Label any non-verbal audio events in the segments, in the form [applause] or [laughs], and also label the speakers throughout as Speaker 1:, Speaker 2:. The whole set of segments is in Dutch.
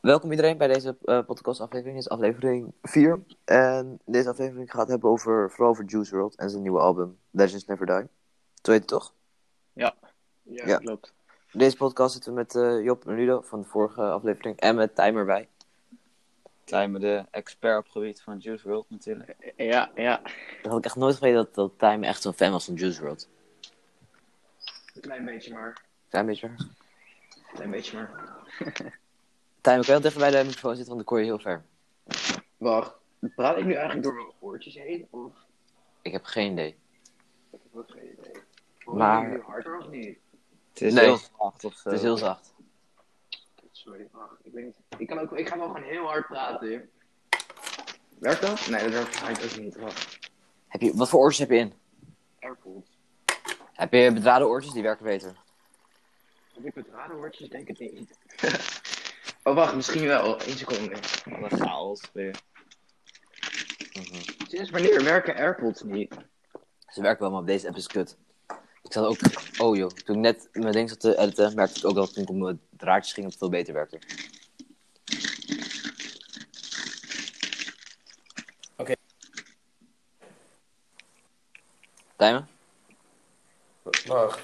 Speaker 1: Welkom iedereen bij deze eh podcastaflevering. Dit is aflevering 4. En deze aflevering gaat hebben over, vooral over Juice WRLD en zijn nieuwe album Legends Never Die. Zo heet het toch?
Speaker 2: Ja,
Speaker 1: Ja.
Speaker 2: klopt.
Speaker 1: In deze podcast zitten we met eh, Job en Ludo van de vorige aflevering en met Timer bij.
Speaker 3: Timer, de expert op het gebied van Juice WRLD natuurlijk.
Speaker 2: Ja, ja.
Speaker 1: Dat had ik echt nooit geweten dat, dat Timer echt zo'n fan was van Juice WRLD.
Speaker 2: Klein beetje maar.
Speaker 1: Klein beetje.
Speaker 2: Klein beetje maar.
Speaker 1: Timer, kan je wel dichter bij de microfoon zitten, want ik hoor je heel ver.
Speaker 2: Wacht, praat ik nu eigenlijk door mijn oortjes heen? Of
Speaker 1: Ik heb geen idee.
Speaker 2: ik heb ook geen idee. Hoor
Speaker 1: Maar-
Speaker 2: ik nu harder of niet?
Speaker 3: Het is
Speaker 1: Nee.
Speaker 3: heel zacht of zo.
Speaker 1: Het is heel zacht.
Speaker 2: Sorry, wacht. Ik weet niet. Ik, kan ook, ik ga wel gewoon heel hard praten. Werkt dat? Nee, dat werkt eigenlijk ook niet. Wacht.
Speaker 1: Heb je, wat voor oortjes heb je in?
Speaker 2: AirPods.
Speaker 1: Heb je bedraden oortjes? Die werken beter.
Speaker 2: Heb ik bedraden oortjes? Denk het niet. [laughs] oh, wacht. Misschien wel. Eén seconde.
Speaker 3: Wat een chaos weer.
Speaker 2: Sinds wanneer werken AirPods niet?
Speaker 1: Ze werken wel, maar op deze app is het kut. Ik zat ook... Oh joh, toen ik net mijn ding zat te editen, merkte ik ook dat toen ik om mijn draadjes ging, dat het veel beter werkte.
Speaker 4: Oké.
Speaker 1: Tijmen,
Speaker 4: Wacht.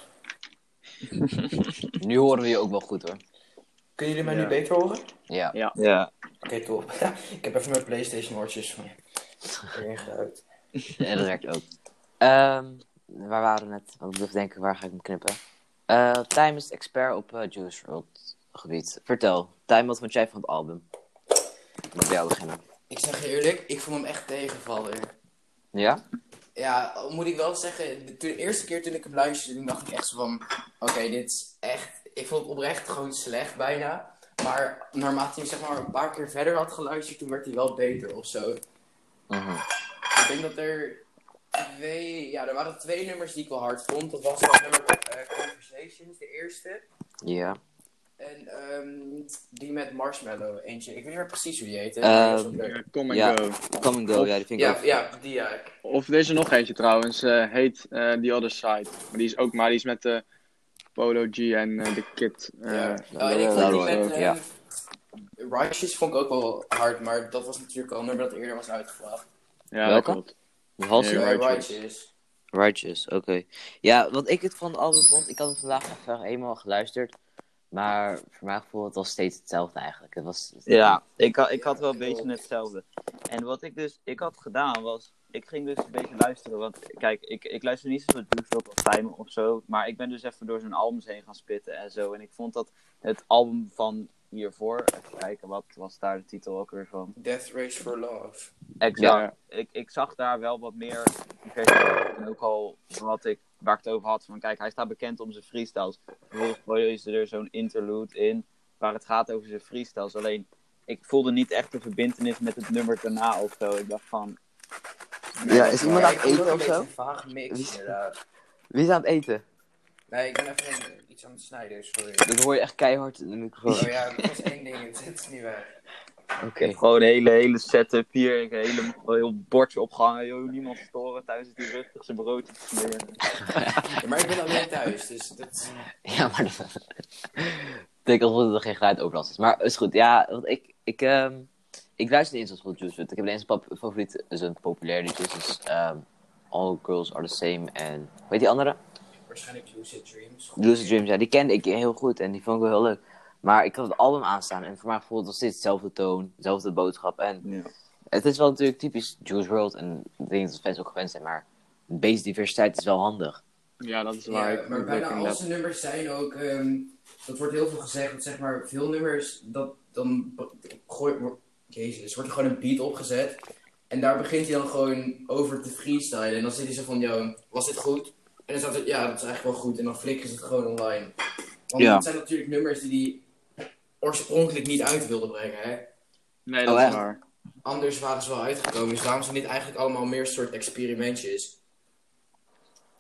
Speaker 1: nu horen we je ook wel goed hoor.
Speaker 4: Kunnen jullie mij
Speaker 2: Ja.
Speaker 4: nu beter horen? Oké,
Speaker 1: Ja.
Speaker 3: Ja,
Speaker 4: top. [laughs] ik heb even mijn PlayStation oortjes erin geduikt.
Speaker 1: Ja, dat werkt ook. Ehm, waar waren we net? Want ik bleef denken, waar ga ik hem knippen? Eh Tijm is expert op eh, Juice WRLD gebied. Vertel, Tijm, wat vond jij van het album? Met jou beginnen.
Speaker 4: Ik zeg je eerlijk, ik vond hem echt tegenvallen.
Speaker 1: Ja?
Speaker 4: Ja, al moet ik wel zeggen, de, toen- de eerste keer toen ik hem luisterde, toen dacht ik echt zo van... Oké, dit is echt... Ik vond het oprecht gewoon slecht bijna. Maar naarmate ik zeg maar een paar keer verder had geluisterd, toen werd hij wel beter of zo.
Speaker 1: Mhm.
Speaker 4: Ik denk dat er twee... Ja, er waren twee nummers die ik wel hard vond. Dat was dat nummer eh, Conversations, de eerste.
Speaker 1: Ja.
Speaker 4: En ehm, die met Marshmallow, eentje. Ik weet niet meer precies hoe die heet. hè, maar die was wel leuk.
Speaker 2: Come
Speaker 1: Ehm, Ja.
Speaker 2: Eh, go.
Speaker 1: Come and go, ja, die vind ik
Speaker 4: ja,
Speaker 1: ook.
Speaker 4: ja, die ja.
Speaker 2: Of er is er nog eentje trouwens, eh, heet eh, The Other Side. Maar die is ook maar die is met eh, Polo G en eh, de Kid. eh,
Speaker 4: ja.
Speaker 1: ja,
Speaker 4: Oh, en ik
Speaker 1: ja,
Speaker 4: vond die
Speaker 1: ja.
Speaker 4: met ehm,
Speaker 1: Ja.
Speaker 4: Righteous vond ik ook wel hard, maar dat was natuurlijk al een nummer dat eerder was uitgebracht.
Speaker 2: ja,
Speaker 1: Welke?
Speaker 2: dat klopt.
Speaker 1: Die hals-
Speaker 2: Ja.
Speaker 4: Eh,
Speaker 2: Righteous.
Speaker 1: Righteous, oké. Ja, wat ik het van het album vond, ik had het vandaag echt wel eenmaal geluisterd. Maar voor mij gevoel het was steeds hetzelfde eigenlijk. Het was...
Speaker 3: ja ik, ha- ik had wel een beetje hetzelfde. En wat ik dus ik had gedaan was, ik ging dus een beetje luisteren. Want kijk, ik, ik luister niet zoveel Juice WRLD als Timer of zo. Maar ik ben dus even door zijn albums heen gaan spitten en zo. En ik vond dat het album van hiervoor, even kijken, wat was daar de titel ook weer van?
Speaker 4: Death Race for Love.
Speaker 3: Exact. ik, ik zag daar wel wat meer diversiteit. En ook al wat ik, waar ik het over had. Van kijk, hij staat bekend om zijn freestyles. Vervolgens gooien ze er zo'n interlude in. Waar het gaat over zijn freestyles. Alleen, ik voelde niet echt de verbindenis met het nummer daarna of zo. Ik dacht van...
Speaker 1: Ja, is iemand aan het
Speaker 4: ik vond
Speaker 1: eten
Speaker 4: het
Speaker 1: of
Speaker 4: een beetje
Speaker 1: zo?
Speaker 4: een vaag
Speaker 1: Wie-
Speaker 4: mix, inderdaad.
Speaker 1: Wie is aan het eten?
Speaker 4: Nee, ik ben even eh, iets aan het snijden, sorry.
Speaker 1: Dat hoor je echt keihard in de microfoon.
Speaker 4: Oh ja, dat was één ding, [laughs] het het is niet weg.
Speaker 1: Oké. [laughs]
Speaker 3: Gewoon een hele, hele setup hier. Ik heb helemaal heel bordje opgehangen. Yo, niemand storen. Thuis zit hij rustig zijn broodje te smeren.
Speaker 4: Ja, maar ik ben alleen thuis, dus dat
Speaker 1: [laughs]
Speaker 4: is...
Speaker 1: Ja, maar [laughs] dat... Ik denk alsof er geen geluid overlast is. Maar is goed, ja, want ik, ik, ehm, ik luister niet eens zoveel Juice WRLD. Ik heb alleen zijn pap- favoriet, zijn populaire liedjes, dus ehm, All Girls Are The Same en, hoe heet die andere?
Speaker 4: Waarschijnlijk Lucid Dreams.
Speaker 1: Lucid Dreams, ja, die kende ik heel goed en die vond ik wel heel leuk. Maar ik had het album aanstaan en voor mij voelde het nog steeds dezelfde toon, dezelfde boodschap. En
Speaker 3: Ja.
Speaker 1: het is wel natuurlijk typisch Juice WRLD en ik denk dat fans ook gewend zijn, maar een beetje diversiteit is wel handig.
Speaker 2: Ja, dat is waar.
Speaker 4: Ja,
Speaker 2: ik
Speaker 4: maar
Speaker 2: ik denk
Speaker 4: bijna al
Speaker 2: inderdaad-
Speaker 4: zijn nummers zijn ook. ehm, dat wordt heel veel gezegd. Dat zeg maar veel nummers. Dat dan. Gooi, wo- Jezus, wordt er gewoon een beat opgezet. En daar begint hij dan gewoon over te freestylen. En dan zit hij zo van: Yo, was dit goed? En dan staat het: Ja, dat is eigenlijk wel goed. En dan flikken ze het gewoon online. Want
Speaker 3: Ja.
Speaker 4: het zijn natuurlijk nummers die hij oorspronkelijk niet uit wilden brengen. Hè?
Speaker 2: Nee, dat
Speaker 1: Oh,
Speaker 2: is
Speaker 1: echt?
Speaker 2: waar.
Speaker 4: Anders waren ze wel uitgekomen. Dus daarom zijn dit eigenlijk allemaal meer soort experimentjes.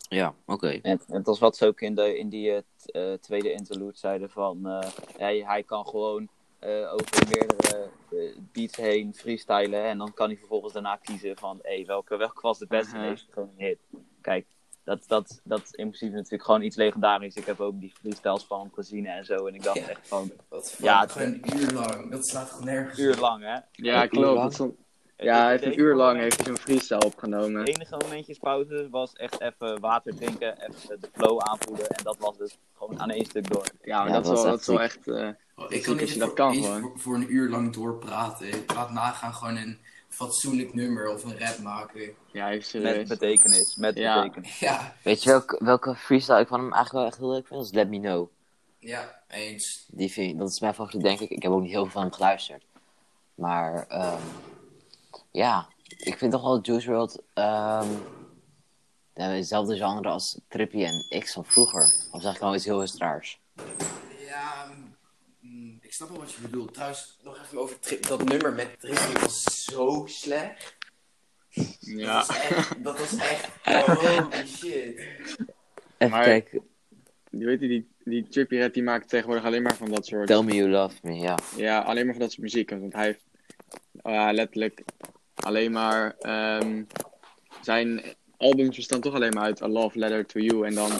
Speaker 1: Ja, oké.
Speaker 3: En en het was wat ze ook in, de, in die eh, t- eh, tweede interlude zeiden van... eh, hij, hij kan gewoon eh, over meerdere eh, beats heen freestylen. En dan kan hij vervolgens daarna kiezen van... Hey, welke, welke was de beste?
Speaker 2: Mhm.
Speaker 3: Deze is gewoon een hit. Kijk, dat, dat, dat is in principe natuurlijk gewoon iets legendarisch. Ik heb ook die freestyles van hem gezien en zo. En ik dacht
Speaker 4: Ja.
Speaker 3: echt van,
Speaker 4: Wat fuck,
Speaker 3: Ja, het-
Speaker 4: gewoon een uur lang. Dat slaat gewoon nergens
Speaker 3: een uur lang hè.
Speaker 1: Een
Speaker 2: Ja,
Speaker 1: uur
Speaker 2: klopt.
Speaker 1: lang?
Speaker 2: Dat is een- Ja, hij heeft
Speaker 3: Het
Speaker 2: een uur lang
Speaker 3: enige-
Speaker 2: heeft hij zijn freestyle opgenomen.
Speaker 3: Het enige momentjes pauze was echt even water drinken, even de flow aanvoelen. En dat was dus gewoon aan één stuk door.
Speaker 2: Ja, maar
Speaker 1: Ja, dat
Speaker 2: dat, is
Speaker 1: was
Speaker 2: wel, dat is wel echt... eh,
Speaker 4: op.
Speaker 2: Ik
Speaker 4: Oh, Ik kan
Speaker 2: zie
Speaker 4: niet
Speaker 2: dat je dat
Speaker 4: voor,
Speaker 2: kan
Speaker 4: eens
Speaker 2: gewoon.
Speaker 4: Voor, voor een uur lang doorpraten. Laat nagaan gewoon een fatsoenlijk nummer of een rap maken. [laughs]
Speaker 2: ja, hij heeft
Speaker 3: Met
Speaker 2: serieus.
Speaker 3: betekenis, met
Speaker 2: Ja.
Speaker 3: betekenis.
Speaker 4: Ja,
Speaker 1: Weet je welke, welke freestyle ik van hem eigenlijk wel echt heel leuk vind? Dat is Let Me Know.
Speaker 4: ja, eens.
Speaker 1: Die vind, dat is mijn favoriet, denk ik. Ik heb ook niet heel veel van hem geluisterd. Maar ehm, ja, ik vind toch wel Juice WRLD ehm, ja, hetzelfde genre als Trippy en X van vroeger. Of zeg ik nou iets heel eens raars?
Speaker 4: Ja, mm, ik snap wel wat je bedoelt. Trouwens, nog even over Tri- dat nummer met Trippie was zo slecht.
Speaker 2: Ja. [laughs]
Speaker 4: Dat was echt, dat was echt holy shit.
Speaker 1: Even
Speaker 2: Maar-
Speaker 1: kijken.
Speaker 2: Die, weet je, die, die Trippie Red die maakt tegenwoordig alleen maar van dat soort...
Speaker 1: Tell Me You Love Me, ja.
Speaker 2: Ja, alleen maar van dat soort muziek. Want hij heeft ja, letterlijk alleen maar... ehm, zijn albums bestaan toch alleen maar uit A Love Letter to You. En dan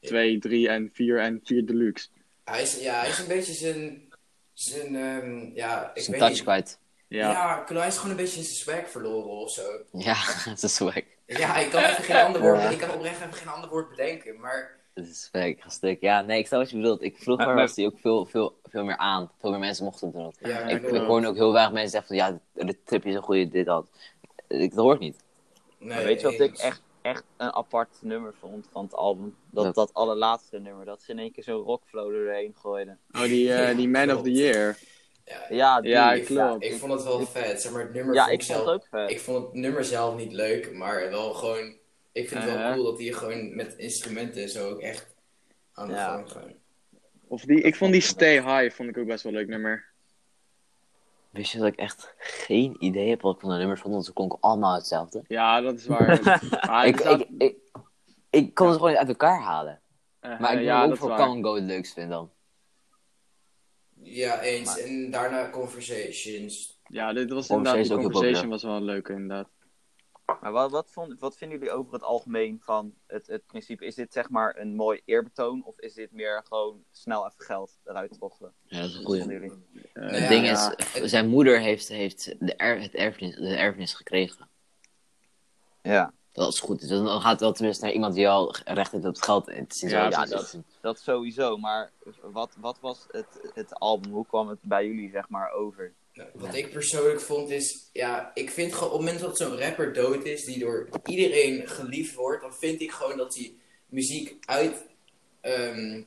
Speaker 2: 2, 3 en 4 en 4 Deluxe.
Speaker 4: Hij is, ja, hij is een beetje zijn... Zijn, ehm, ja, ik
Speaker 1: Zijn
Speaker 4: weet
Speaker 1: touch
Speaker 4: niet.
Speaker 1: kwijt.
Speaker 2: Ja.
Speaker 4: Ja, hij is gewoon een beetje zijn swag verloren of zo.
Speaker 1: Ja, [laughs] dat is swag.
Speaker 4: Ja, ik kan even geen ander woord,
Speaker 1: Ja.
Speaker 4: ik kan oprecht even geen ander woord bedenken, maar
Speaker 1: Dat is swag, gestik. Ja, nee, ik snap wat je bedoelt. Ik, vroeger
Speaker 3: Maar- maar-
Speaker 1: was hij ook veel, veel, veel meer aan. Veel meer mensen mochten het doen.
Speaker 4: ja,
Speaker 1: Ik,
Speaker 4: bedoel-
Speaker 1: ik hoor nu ook heel weinig mensen zeggen van ja, de- de trip is een goede dit dat. Ik, dat hoor ik niet.
Speaker 4: nee, dus
Speaker 3: Maar weet je wat ik
Speaker 4: eens.
Speaker 3: echt, echt een apart nummer vond van het album? Dat,
Speaker 1: Dat-
Speaker 3: dat, allerlaatste nummer, dat ze in één keer zo'n rockflow erheen gooiden.
Speaker 2: Oh, die, eh, die Man of the Year.
Speaker 4: Ja,
Speaker 3: Ja, die-
Speaker 2: Ja,
Speaker 4: ik,
Speaker 2: klopt.
Speaker 4: ik vond het wel vet, zeg maar het nummer
Speaker 3: ja,
Speaker 4: vond
Speaker 3: ik
Speaker 4: ik
Speaker 3: vond het
Speaker 4: zelf,
Speaker 3: ook vet.
Speaker 4: ik vond het nummer zelf niet leuk, maar wel gewoon, ik vind het
Speaker 3: Uh-huh.
Speaker 4: wel
Speaker 2: Eh.
Speaker 4: cool dat hij gewoon met instrumenten en zo ook echt aan de
Speaker 3: Ja.
Speaker 4: gang gaan.
Speaker 2: Of die, ik vond die Stay High vond ik ook best wel een leuk nummer.
Speaker 1: Wist je dat ik echt geen idee heb wat ik van de nummers vond, want ze klonken allemaal hetzelfde.
Speaker 2: Ja, dat is waar. Maar
Speaker 1: ik,
Speaker 2: het staat-
Speaker 1: ik, ik, ik kon ze gewoon niet uit elkaar halen.
Speaker 2: eh,
Speaker 1: Maar ik
Speaker 2: eh,
Speaker 1: denk
Speaker 2: ja,
Speaker 1: ook
Speaker 2: dat is
Speaker 1: voor
Speaker 2: waar.
Speaker 1: Congo het leukst vind dan.
Speaker 4: Ja, eens. En daarna Conversations.
Speaker 2: Ja, dit was
Speaker 1: Conversation
Speaker 2: inderdaad,
Speaker 1: is
Speaker 2: die
Speaker 1: ook heel populair.
Speaker 2: conversation was wel een leuke inderdaad.
Speaker 3: [laughs] Maar wat, wat, vond, wat vinden jullie over het algemeen van het, het principe? Is dit zeg maar een mooi eerbetoon of is dit meer gewoon snel even geld eruit troggelen?
Speaker 1: Ja, dat is een
Speaker 3: Wat vonden
Speaker 1: goede.
Speaker 3: jullie?
Speaker 2: Eh,
Speaker 4: Het
Speaker 1: Het
Speaker 4: Ja,
Speaker 1: ding
Speaker 2: ja.
Speaker 1: is, zijn moeder heeft, heeft de, er, het erfenis, de erfenis gekregen.
Speaker 3: Ja,
Speaker 1: Dat is goed. Dus dan gaat het wel tenminste naar iemand die al recht heeft op het geld. Het is
Speaker 2: Ja,
Speaker 1: wel-
Speaker 3: ja,
Speaker 1: dat-
Speaker 3: dat sowieso. Maar wat, wat was het, het album? Hoe kwam het bij jullie zeg maar over?
Speaker 4: Nou, Wat ik persoonlijk vond is, ja, ik vind gewoon op het moment dat zo'n rapper dood is, die door iedereen geliefd wordt, dan vind ik gewoon dat die muziek uit, ehm,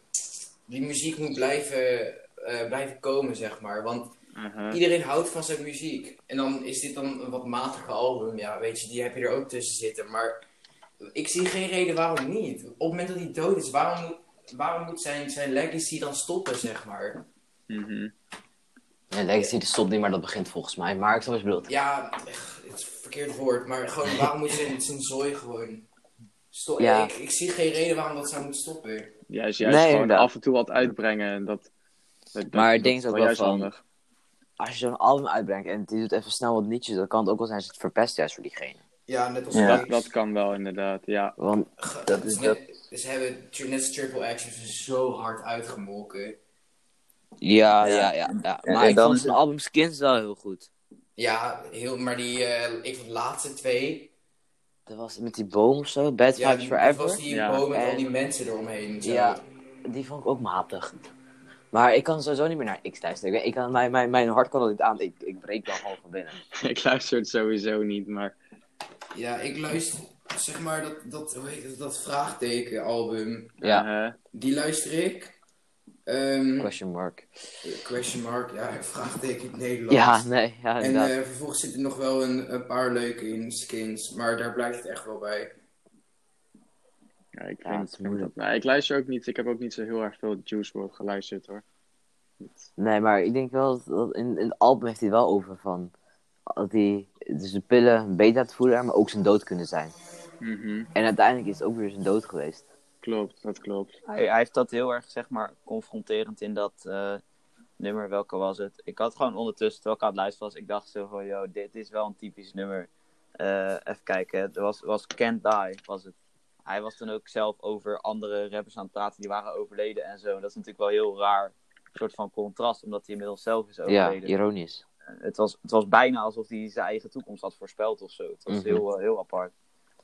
Speaker 4: die muziek moet blijven, eh, blijven komen, zeg maar. Want
Speaker 2: Uh-huh.
Speaker 4: iedereen houdt van zijn muziek. En dan is dit dan een wat matige album, ja, weet je, die heb je er ook tussen zitten. Maar ik zie geen reden waarom niet. Op het moment dat hij dood is, waarom moet, waarom moet zijn, zijn legacy dan stoppen, zeg maar?
Speaker 2: Mhm.
Speaker 1: Nee, Legacy dat stopt niet, maar dat begint volgens mij. Maar ik snap wat je bedoelt.
Speaker 4: Ja, echt, het is een verkeerd woord, maar gewoon waarom moet je zijn zooi gewoon stoppen?
Speaker 1: Ja.
Speaker 4: Ik, ik zie geen reden waarom dat zou moeten stoppen.
Speaker 2: Juist, juist
Speaker 1: Nee,
Speaker 2: gewoon
Speaker 1: inderdaad.
Speaker 2: af en toe wat uitbrengen. En dat, dat,
Speaker 1: Maar
Speaker 2: dat-
Speaker 1: ik denk
Speaker 2: dat
Speaker 1: ook wel
Speaker 2: juist
Speaker 1: van-
Speaker 2: handig.
Speaker 1: Als je zo'n album uitbrengt en die doet even snel wat nietjes, dan kan het ook wel zijn dat je het verpest juist voor diegene.
Speaker 4: Ja, net als
Speaker 3: Ja.
Speaker 2: Dat, dat kan wel inderdaad, ja. [laughs]
Speaker 1: Want
Speaker 4: dat
Speaker 3: dat
Speaker 4: is
Speaker 3: is
Speaker 4: net, Ze hebben tri- net als Triple Actions zo hard uitgemolken.
Speaker 1: ja,
Speaker 3: Ja.
Speaker 1: ja, ja. ja.
Speaker 3: En-
Speaker 1: Maar
Speaker 3: en
Speaker 1: ik
Speaker 3: dan
Speaker 1: vond
Speaker 3: is
Speaker 1: zijn
Speaker 3: het-
Speaker 1: album Skins wel heel goed.
Speaker 4: Ja, heel, maar die, eh, ik vond de laatste twee.
Speaker 1: Dat was met die boom of zo, Bad
Speaker 4: Ja,
Speaker 1: Vibes
Speaker 4: die- dat
Speaker 1: Forever.
Speaker 4: was
Speaker 1: Die...
Speaker 4: die
Speaker 2: Ja.
Speaker 4: boom met al
Speaker 1: En-
Speaker 4: die mensen eromheen. Zo.
Speaker 1: Ja. vond ik ook matig. Maar ik kan sowieso niet meer naar X luisteren. Ik, weet- ik kan, mijn, mijn, mijn hart kan al niet aan. Ik, ik breek dan gewoon van binnen.
Speaker 2: ik luister het sowieso niet, maar...
Speaker 4: ja, ik luister, zeg maar, dat, dat, hoe heet het, dat vraagtekenalbum.
Speaker 1: Ja,
Speaker 2: eh,
Speaker 4: Die luister ik. Ehm,
Speaker 1: question mark.
Speaker 4: Question mark, ja, vraagteken in het Nederlands.
Speaker 1: Ja, nee, ja,
Speaker 4: en
Speaker 1: inderdaad.
Speaker 4: eh, vervolgens zitten nog wel een, een paar leuke in skins, maar daar blijft het echt wel bij.
Speaker 2: ja, ik,
Speaker 1: Ja,
Speaker 2: vind,
Speaker 1: het is
Speaker 2: vind
Speaker 1: moeilijk.
Speaker 2: dat, nou, ik luister ook niet, ik heb ook niet zo heel erg veel Juice WRLD geluisterd hoor.
Speaker 1: Nee, maar ik denk wel dat, dat in, in het album heeft hij wel over van... Dat hij dus de pillen beter laat voelen, maar ook zijn dood kunnen zijn.
Speaker 2: Mhm,
Speaker 1: En uiteindelijk is het ook weer zijn dood geweest.
Speaker 2: Klopt, dat klopt.
Speaker 3: Hij, hij heeft dat heel erg zeg maar confronterend in dat eh, nummer. Welke was het? Ik had gewoon ondertussen, terwijl ik aan het luisteren was, ik dacht zo van, yo, dit is wel een typisch nummer. Eh, even kijken, het was, was Can't Die, was het. hij was dan ook zelf over andere rappers aan het praten die waren overleden en zo. En dat is natuurlijk wel heel raar, een soort van contrast, omdat hij inmiddels zelf is
Speaker 1: Ja,
Speaker 3: overleden. Eh,
Speaker 1: ironisch.
Speaker 3: Het, was, het was bijna alsof hij zijn eigen toekomst had voorspeld of zo. Het was
Speaker 1: Mhm.
Speaker 3: heel, eh, heel apart.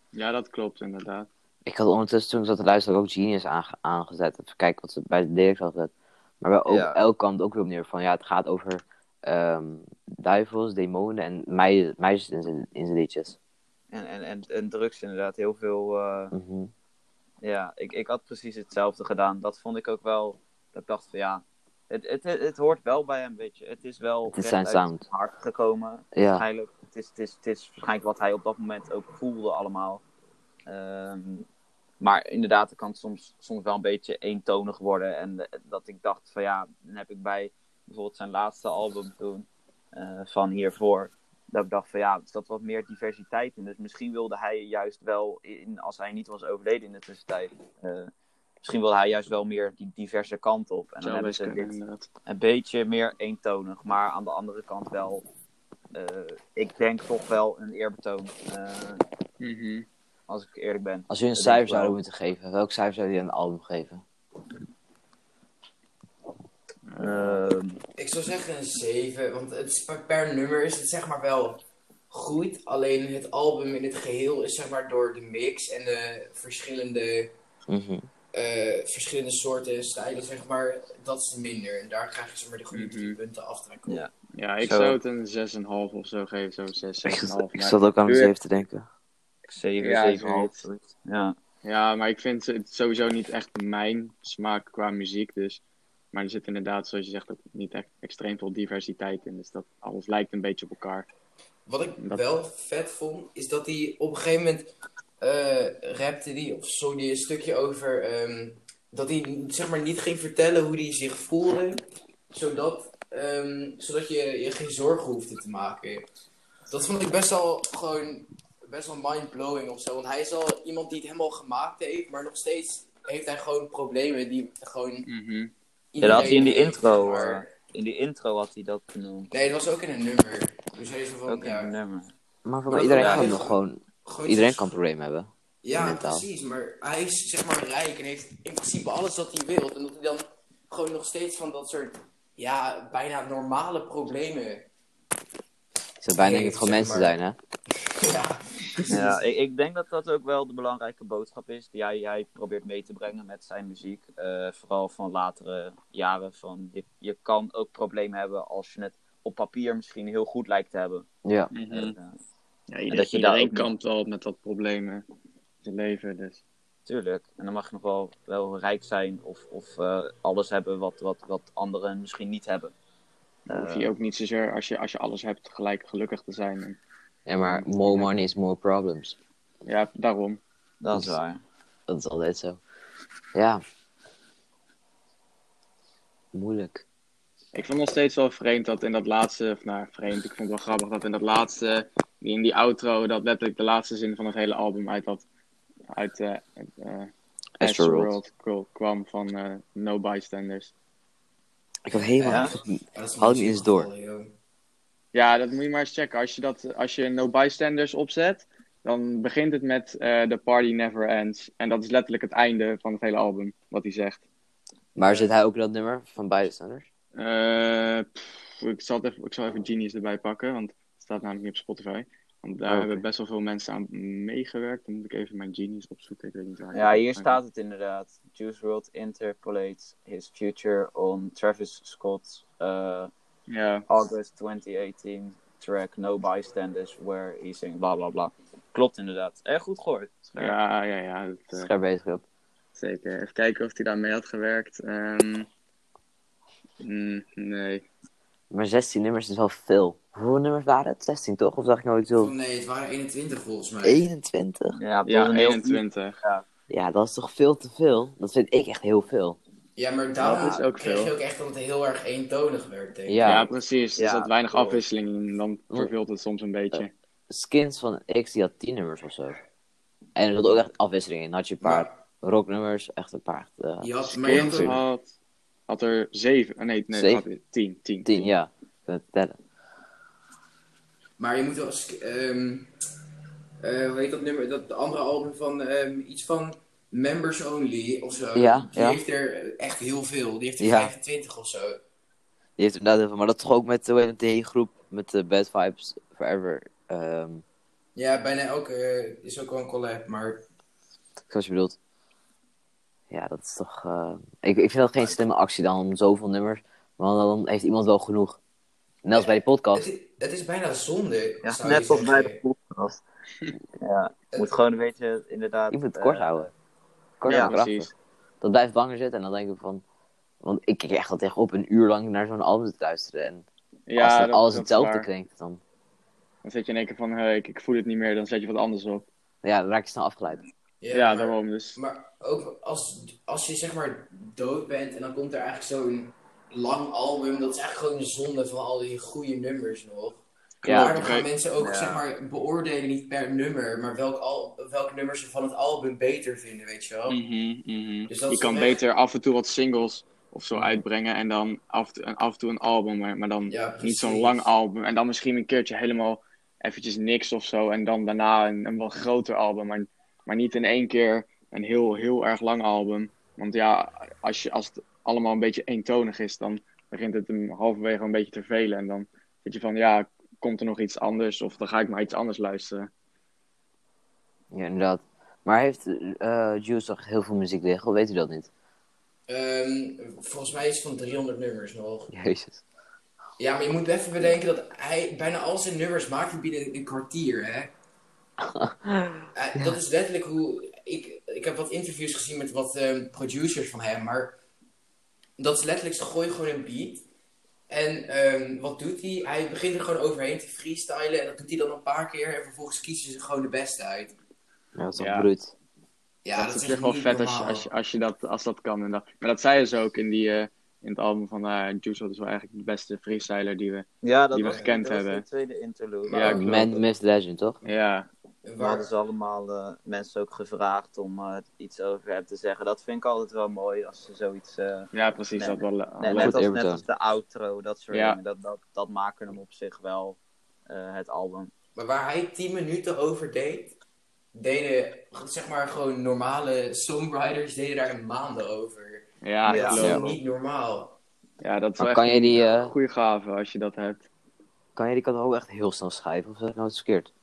Speaker 2: Ja, dat klopt inderdaad.
Speaker 1: Ik had ondertussen toen ik zat te luisteren ook Genius aange- aangezet. Even kijken wat ze bij de lyrics had gezet. Maar wel ook,
Speaker 3: Ja.
Speaker 1: elk kant ook weer op neer van ja, het gaat over ehm, duivels, demonen en mei- meisjes in zijn- in zijn liedjes.
Speaker 3: En, en, en, en drugs inderdaad, heel veel... eh,
Speaker 1: Mhm.
Speaker 3: Ja, ik, ik had precies hetzelfde gedaan. Dat vond ik ook wel. Dat ik dacht van ja, het, het, het, het hoort wel bij hem, weet je. Het is wel.
Speaker 1: Het is
Speaker 3: recht
Speaker 1: zijn
Speaker 3: uit
Speaker 1: sound.
Speaker 3: hart gekomen.
Speaker 1: Ja.
Speaker 3: Waarschijnlijk. Het is, het, is, het is waarschijnlijk wat hij op dat moment ook voelde, allemaal. Ehm, maar inderdaad, het kan soms, soms wel een beetje eentonig worden. En eh, dat ik dacht van ja, dan heb ik bij bijvoorbeeld zijn laatste album toen, eh, van hiervoor. Dat ik dacht van ja, er zat wat meer diversiteit in. Dus misschien wilde hij juist wel, in, als hij niet was overleden in de tussentijd, eh, misschien wilde hij juist wel meer die diverse kant op. En dan
Speaker 2: Zou
Speaker 3: hebben
Speaker 2: best
Speaker 3: ze
Speaker 2: kunnen
Speaker 3: dit
Speaker 2: inderdaad.
Speaker 3: een beetje meer eentonig, maar aan de andere kant wel, eh, ik denk toch wel een eerbetoon, eh,
Speaker 2: Mhm.
Speaker 3: als ik eerlijk ben.
Speaker 1: Als jullie een
Speaker 3: Dat
Speaker 1: cijfer
Speaker 3: denk ik wel.
Speaker 1: zouden moeten geven, welk cijfer zouden jullie aan het album geven?
Speaker 3: Ehm,
Speaker 4: Ik zou zeggen een 7, want het is, per- per nummer is het zeg maar wel goed. Alleen het album in het geheel is zeg maar door de mix en de verschillende,
Speaker 1: Mhm.
Speaker 4: eh, verschillende soorten stijlen zeg maar, dat is minder. En daar krijg je zeg maar de goede
Speaker 2: Mhm.
Speaker 4: drie punten aftrek op.
Speaker 3: Ja.
Speaker 2: Ja, ik
Speaker 3: Zo.
Speaker 2: zou het een 6,5 of zo geven, zo'n 6,
Speaker 1: [laughs]
Speaker 2: 6,5.
Speaker 1: Ik, zat- ik
Speaker 2: maar-
Speaker 1: zat ook aan
Speaker 2: Duur.
Speaker 1: mezelf te denken.
Speaker 3: Zeven,
Speaker 2: Ja,
Speaker 3: zeven, half,
Speaker 2: zoiets.
Speaker 3: zoiets. Ja.
Speaker 2: Ja, maar ik vind het sowieso niet echt mijn smaak qua muziek, dus... Maar er zit inderdaad, zoals je zegt, ook niet echt extreem veel diversiteit in. Dus dat alles lijkt een beetje op elkaar.
Speaker 4: Wat ik
Speaker 2: Dat-
Speaker 4: wel vet vond, is dat hij op een gegeven moment eh rapte die, of zong die een stukje over ehm, dat hij zeg maar niet ging vertellen hoe hij zich voelde, zodat, ehm, zodat je je geen zorgen hoefde te maken. Dat vond ik best wel gewoon best wel mindblowing of zo, want hij is al iemand die het helemaal gemaakt heeft, maar nog steeds heeft hij gewoon problemen die gewoon
Speaker 2: Mhm,
Speaker 3: Ja, dat had hij in die
Speaker 4: iedereen heeft,
Speaker 3: intro,
Speaker 4: zeg maar.
Speaker 3: eh, in die intro had hij dat genoemd.
Speaker 4: Nee, dat was ook in een nummer. Dus hij is
Speaker 2: Oh,
Speaker 4: van,
Speaker 3: Ook in
Speaker 4: ja,
Speaker 3: een nummer.
Speaker 2: [laughs]
Speaker 1: Maar voor
Speaker 4: Maar
Speaker 1: iedereen,
Speaker 4: ja,
Speaker 1: kan
Speaker 4: heel
Speaker 1: nog
Speaker 4: goed.
Speaker 1: gewoon,
Speaker 4: gewoon
Speaker 1: iedereen
Speaker 4: iets-
Speaker 1: kan problemen hebben.
Speaker 4: Ja,
Speaker 1: Mentaal.
Speaker 4: precies. Maar hij is zeg maar rijk en heeft in principe alles wat hij wil. En dat hij dan gewoon nog steeds van dat soort, ja, bijna normale problemen. [laughs]
Speaker 1: Ik zou bijna denken dat
Speaker 4: Nee,
Speaker 1: het gewoon mensen
Speaker 4: zeg maar.
Speaker 1: zijn, hè?
Speaker 4: Ja,
Speaker 3: Ja, ik, ik denk dat dat ook wel de belangrijke boodschap is die hij, hij probeert mee te brengen met zijn muziek. Eh, vooral van latere jaren. Van je, je kan ook problemen hebben als je het op papier misschien heel goed lijkt te hebben.
Speaker 1: Ja.
Speaker 2: Mhm.
Speaker 3: Eh,
Speaker 2: Ja,
Speaker 3: En
Speaker 2: iedereen,
Speaker 3: dat je daar
Speaker 2: iedereen
Speaker 3: ook nog-
Speaker 2: kampt wel met dat probleem hè, in zijn leven, dus...
Speaker 3: Tuurlijk. En dan mag je nog wel, wel rijk zijn of, of eh, alles hebben wat, wat, wat anderen misschien niet hebben. Eh.
Speaker 2: Dan hoef je ook niet zozeer, als je, als je alles hebt, gelijk gelukkig te zijn. En-
Speaker 1: Ja, maar more money is more problems.
Speaker 2: ja, daarom.
Speaker 3: Dat is waar.
Speaker 1: Dat is altijd zo. Ja. Moeilijk.
Speaker 2: Ik vond nog steeds wel vreemd dat in dat laatste, of nou vreemd, ik vond het wel grappig dat in dat laatste, die in die outro, dat letterlijk de laatste zin van het hele album uit dat, uit eh eh,
Speaker 1: Astroworld.
Speaker 2: Astroworld kwam- kwam van eh, No Bystanders.
Speaker 1: Ik had helemaal...
Speaker 3: Ja?
Speaker 4: dat is
Speaker 1: Hou hem eens door.
Speaker 2: Ja, dat moet je maar eens checken. Als je, dat, als je No Bystanders opzet, dan begint het met eh The Party Never Ends. En dat is letterlijk het einde van het hele album, wat hij zegt.
Speaker 1: Maar zit hij ook in dat nummer van bijstanders?
Speaker 2: Eh, pff, ik, zal het even, ik zal even Genius erbij pakken, want het staat namelijk niet op Spotify. Want daar
Speaker 3: Oh,
Speaker 1: Oké.
Speaker 2: hebben best wel veel mensen aan meegewerkt. Dan moet ik even mijn Genius opzoeken. Ik weet niet waar.
Speaker 3: Ja, hier staat het inderdaad. Juice World interpolates his future on Travis Scott's eh,
Speaker 2: Ja,
Speaker 3: August 2018 track No Bystanders where he sings bla bla bla. Klopt inderdaad. Erg goed gehoord. Scherp.
Speaker 2: ja, ja, ja dat, eh,
Speaker 1: Scherp bezig op.
Speaker 2: zeker. Even kijken of hij daarmee had gewerkt. Ehm, mm, nee.
Speaker 1: Maar 16 nummers is wel veel. Hoeveel nummers waren het? 16 toch? Of zag ik nooit zo?
Speaker 4: Nee, het waren 21 volgens mij.
Speaker 1: 21?
Speaker 3: Ja, het was
Speaker 2: Ja,
Speaker 3: een heel-
Speaker 2: 21.
Speaker 1: Ja, dat is toch veel te veel? Dat vind ik echt heel veel.
Speaker 4: Ja, maar daarom
Speaker 2: Dat is ook
Speaker 4: kreeg je
Speaker 2: veel.
Speaker 4: ook echt dat het heel erg eentonig werd, denk ik.
Speaker 1: Ja.
Speaker 2: Ja, precies. Er
Speaker 3: Ja,
Speaker 2: zat weinig
Speaker 3: klopt.
Speaker 2: afwisseling in. Dan verveelt het soms een beetje.
Speaker 1: Skins van X die had 10 nummers of zo. En er zat ook echt afwisseling in. Had je een paar rocknummers, echt een paar. eh,
Speaker 4: Je had, maar je had
Speaker 2: Kind
Speaker 4: ook-
Speaker 2: had, had er 7. Nee, nee,
Speaker 1: Zeven?
Speaker 2: had er 10. 10.
Speaker 1: 10, ja. Ik kan het tellen.
Speaker 4: Maar je moet wel eens. ehm, eh, hoe heet dat nummer? Dat de andere album van ehm, iets van Members Only of zo.
Speaker 1: Ja,
Speaker 4: die
Speaker 1: ja.
Speaker 4: heeft er eh, echt heel veel. Die heeft er
Speaker 1: Ja.
Speaker 4: 25 of zo.
Speaker 1: Die heeft inderdaad heel veel, maar dat toch ook met hoe heet het, de hele groep, met de Bad Vibes Forever. Ehm
Speaker 4: Ja, bijna elke eh, is ook wel een collab, maar
Speaker 1: ik snap wat je bedoelt. Ja, dat is toch... eh, Ik, ik vind dat geen slimme actie dan, om zoveel nummers. Want dan heeft iemand wel genoeg. Net als bij die
Speaker 4: het
Speaker 1: podcast.
Speaker 4: is, het is bijna zonde.
Speaker 3: Ja,
Speaker 4: zou je
Speaker 3: net als bij
Speaker 2: [laughs]
Speaker 3: de
Speaker 4: zeggen.
Speaker 3: podcast. ja, je moet
Speaker 4: Het-
Speaker 3: gewoon een beetje inderdaad...
Speaker 1: Je moet het
Speaker 3: eh,
Speaker 1: kort houden. Kort
Speaker 3: ja,
Speaker 1: en krachtig. Dat blijft langer zitten en dan denk ik van... Want ik kijk echt al tegen op een uur lang naar zo'n album te luisteren. En als
Speaker 2: Ja,
Speaker 1: dan
Speaker 2: dat-
Speaker 1: alles
Speaker 2: dat is
Speaker 1: hetzelfde
Speaker 2: waar.
Speaker 1: klinkt, dan,
Speaker 2: Dan zet je in één keer van, hey, ik, ik voel het niet meer, dan zet je wat anders op.
Speaker 1: ja, dan raak je snel afgeleid.
Speaker 2: Ja,
Speaker 4: maar-
Speaker 2: daarom dus.
Speaker 4: Maar ook als, als je zeg maar dood bent en dan komt er eigenlijk zo'n lang album, dat is eigenlijk gewoon een zonde van al die goede nummers nog.
Speaker 1: Ja,
Speaker 4: maar dan gaan
Speaker 2: oké.
Speaker 4: mensen ook
Speaker 3: Ja.
Speaker 4: zeg maar beoordelen niet per nummer, maar welk, al, welk nummer ze van het album beter vinden, weet je wel.
Speaker 2: Mhm, mhm.
Speaker 4: Dus dat
Speaker 2: je
Speaker 4: is
Speaker 2: kan
Speaker 4: dan echt-
Speaker 2: beter af en toe wat singles of zo uitbrengen en dan af en toe, en af en toe een album, maar, maar dan
Speaker 4: Ja,
Speaker 2: niet
Speaker 4: precies.
Speaker 2: zo'n lang album. En dan misschien een keertje helemaal eventjes niks of zo en dan daarna een, een wat groter album, maar, maar niet in één keer een heel, heel erg lang album. Want ja, als, je, als het allemaal een beetje eentonig is, dan begint het hem halverwege een beetje te velen en dan zit je van, ja, komt er nog iets anders of dan ga ik maar iets anders luisteren.
Speaker 1: Ja, inderdaad. Maar heeft eh Juice toch heel veel muziek liggen? Of weet u dat niet? [laughs]
Speaker 4: Ehm, volgens mij is het van 300 nummers nog.
Speaker 1: Jezus.
Speaker 4: Ja, maar je moet even bedenken dat hij bijna al zijn nummers maakt hij binnen een kwartier, hè? Eh, Dat is letterlijk hoe... Ik, ik heb wat interviews gezien met wat ehm, producers van hem, maar... Dat is letterlijk, ze gooien gewoon een beat. En ehm, wat doet hij? Hij begint er gewoon overheen te freestylen en dat doet hij dan een paar keer. En vervolgens kiezen ze gewoon de beste uit.
Speaker 1: Ja, Nou, dat is toch
Speaker 2: Ja.
Speaker 1: bruut.
Speaker 4: Ja,
Speaker 2: dat, is op zich wel
Speaker 4: niet
Speaker 2: vet als, je-
Speaker 4: normaal.
Speaker 2: als, je- als, je dat, als dat kan. En dat, maar dat zeiden ze ook in, die, eh, in het album van eh Juice WRLD is wel eigenlijk de beste freestyler die we...
Speaker 3: Ja, dat
Speaker 2: die we
Speaker 3: was,
Speaker 2: gekend
Speaker 3: dat was
Speaker 2: hebben.
Speaker 3: de tweede interlude.
Speaker 4: Ja,
Speaker 2: Ja, klopt.
Speaker 1: Man Miss Legend, toch?
Speaker 2: Ja,
Speaker 3: We
Speaker 4: Waar-
Speaker 3: hadden ze allemaal eh, mensen ook gevraagd om eh, iets over hem te zeggen. Dat vind ik altijd wel mooi als ze zoiets. eh,
Speaker 2: ja precies.
Speaker 3: Nee,
Speaker 2: dat wel, eh,
Speaker 3: net,
Speaker 2: wel-
Speaker 3: net, als,
Speaker 1: eerbetoon.
Speaker 3: net als de outro, dat soort
Speaker 2: Ja.
Speaker 3: dingen. Dat, dat, dat maken hem op zich wel eh, het album.
Speaker 4: Maar waar hij 10 minuten over deed, deden zeg maar gewoon normale songwriters deden daar een maanden over.
Speaker 2: ja,
Speaker 3: Ja.
Speaker 4: dat is
Speaker 2: klopt.
Speaker 4: gewoon
Speaker 2: ja.
Speaker 4: niet normaal.
Speaker 2: dat is
Speaker 1: Maar
Speaker 2: wel
Speaker 1: kan
Speaker 2: echt
Speaker 1: je die,
Speaker 2: een
Speaker 1: eh,
Speaker 2: goede gave als je dat hebt.
Speaker 1: Kan jij die kant ook echt heel snel schrijven? Of zeg ik nou iets verkeerd?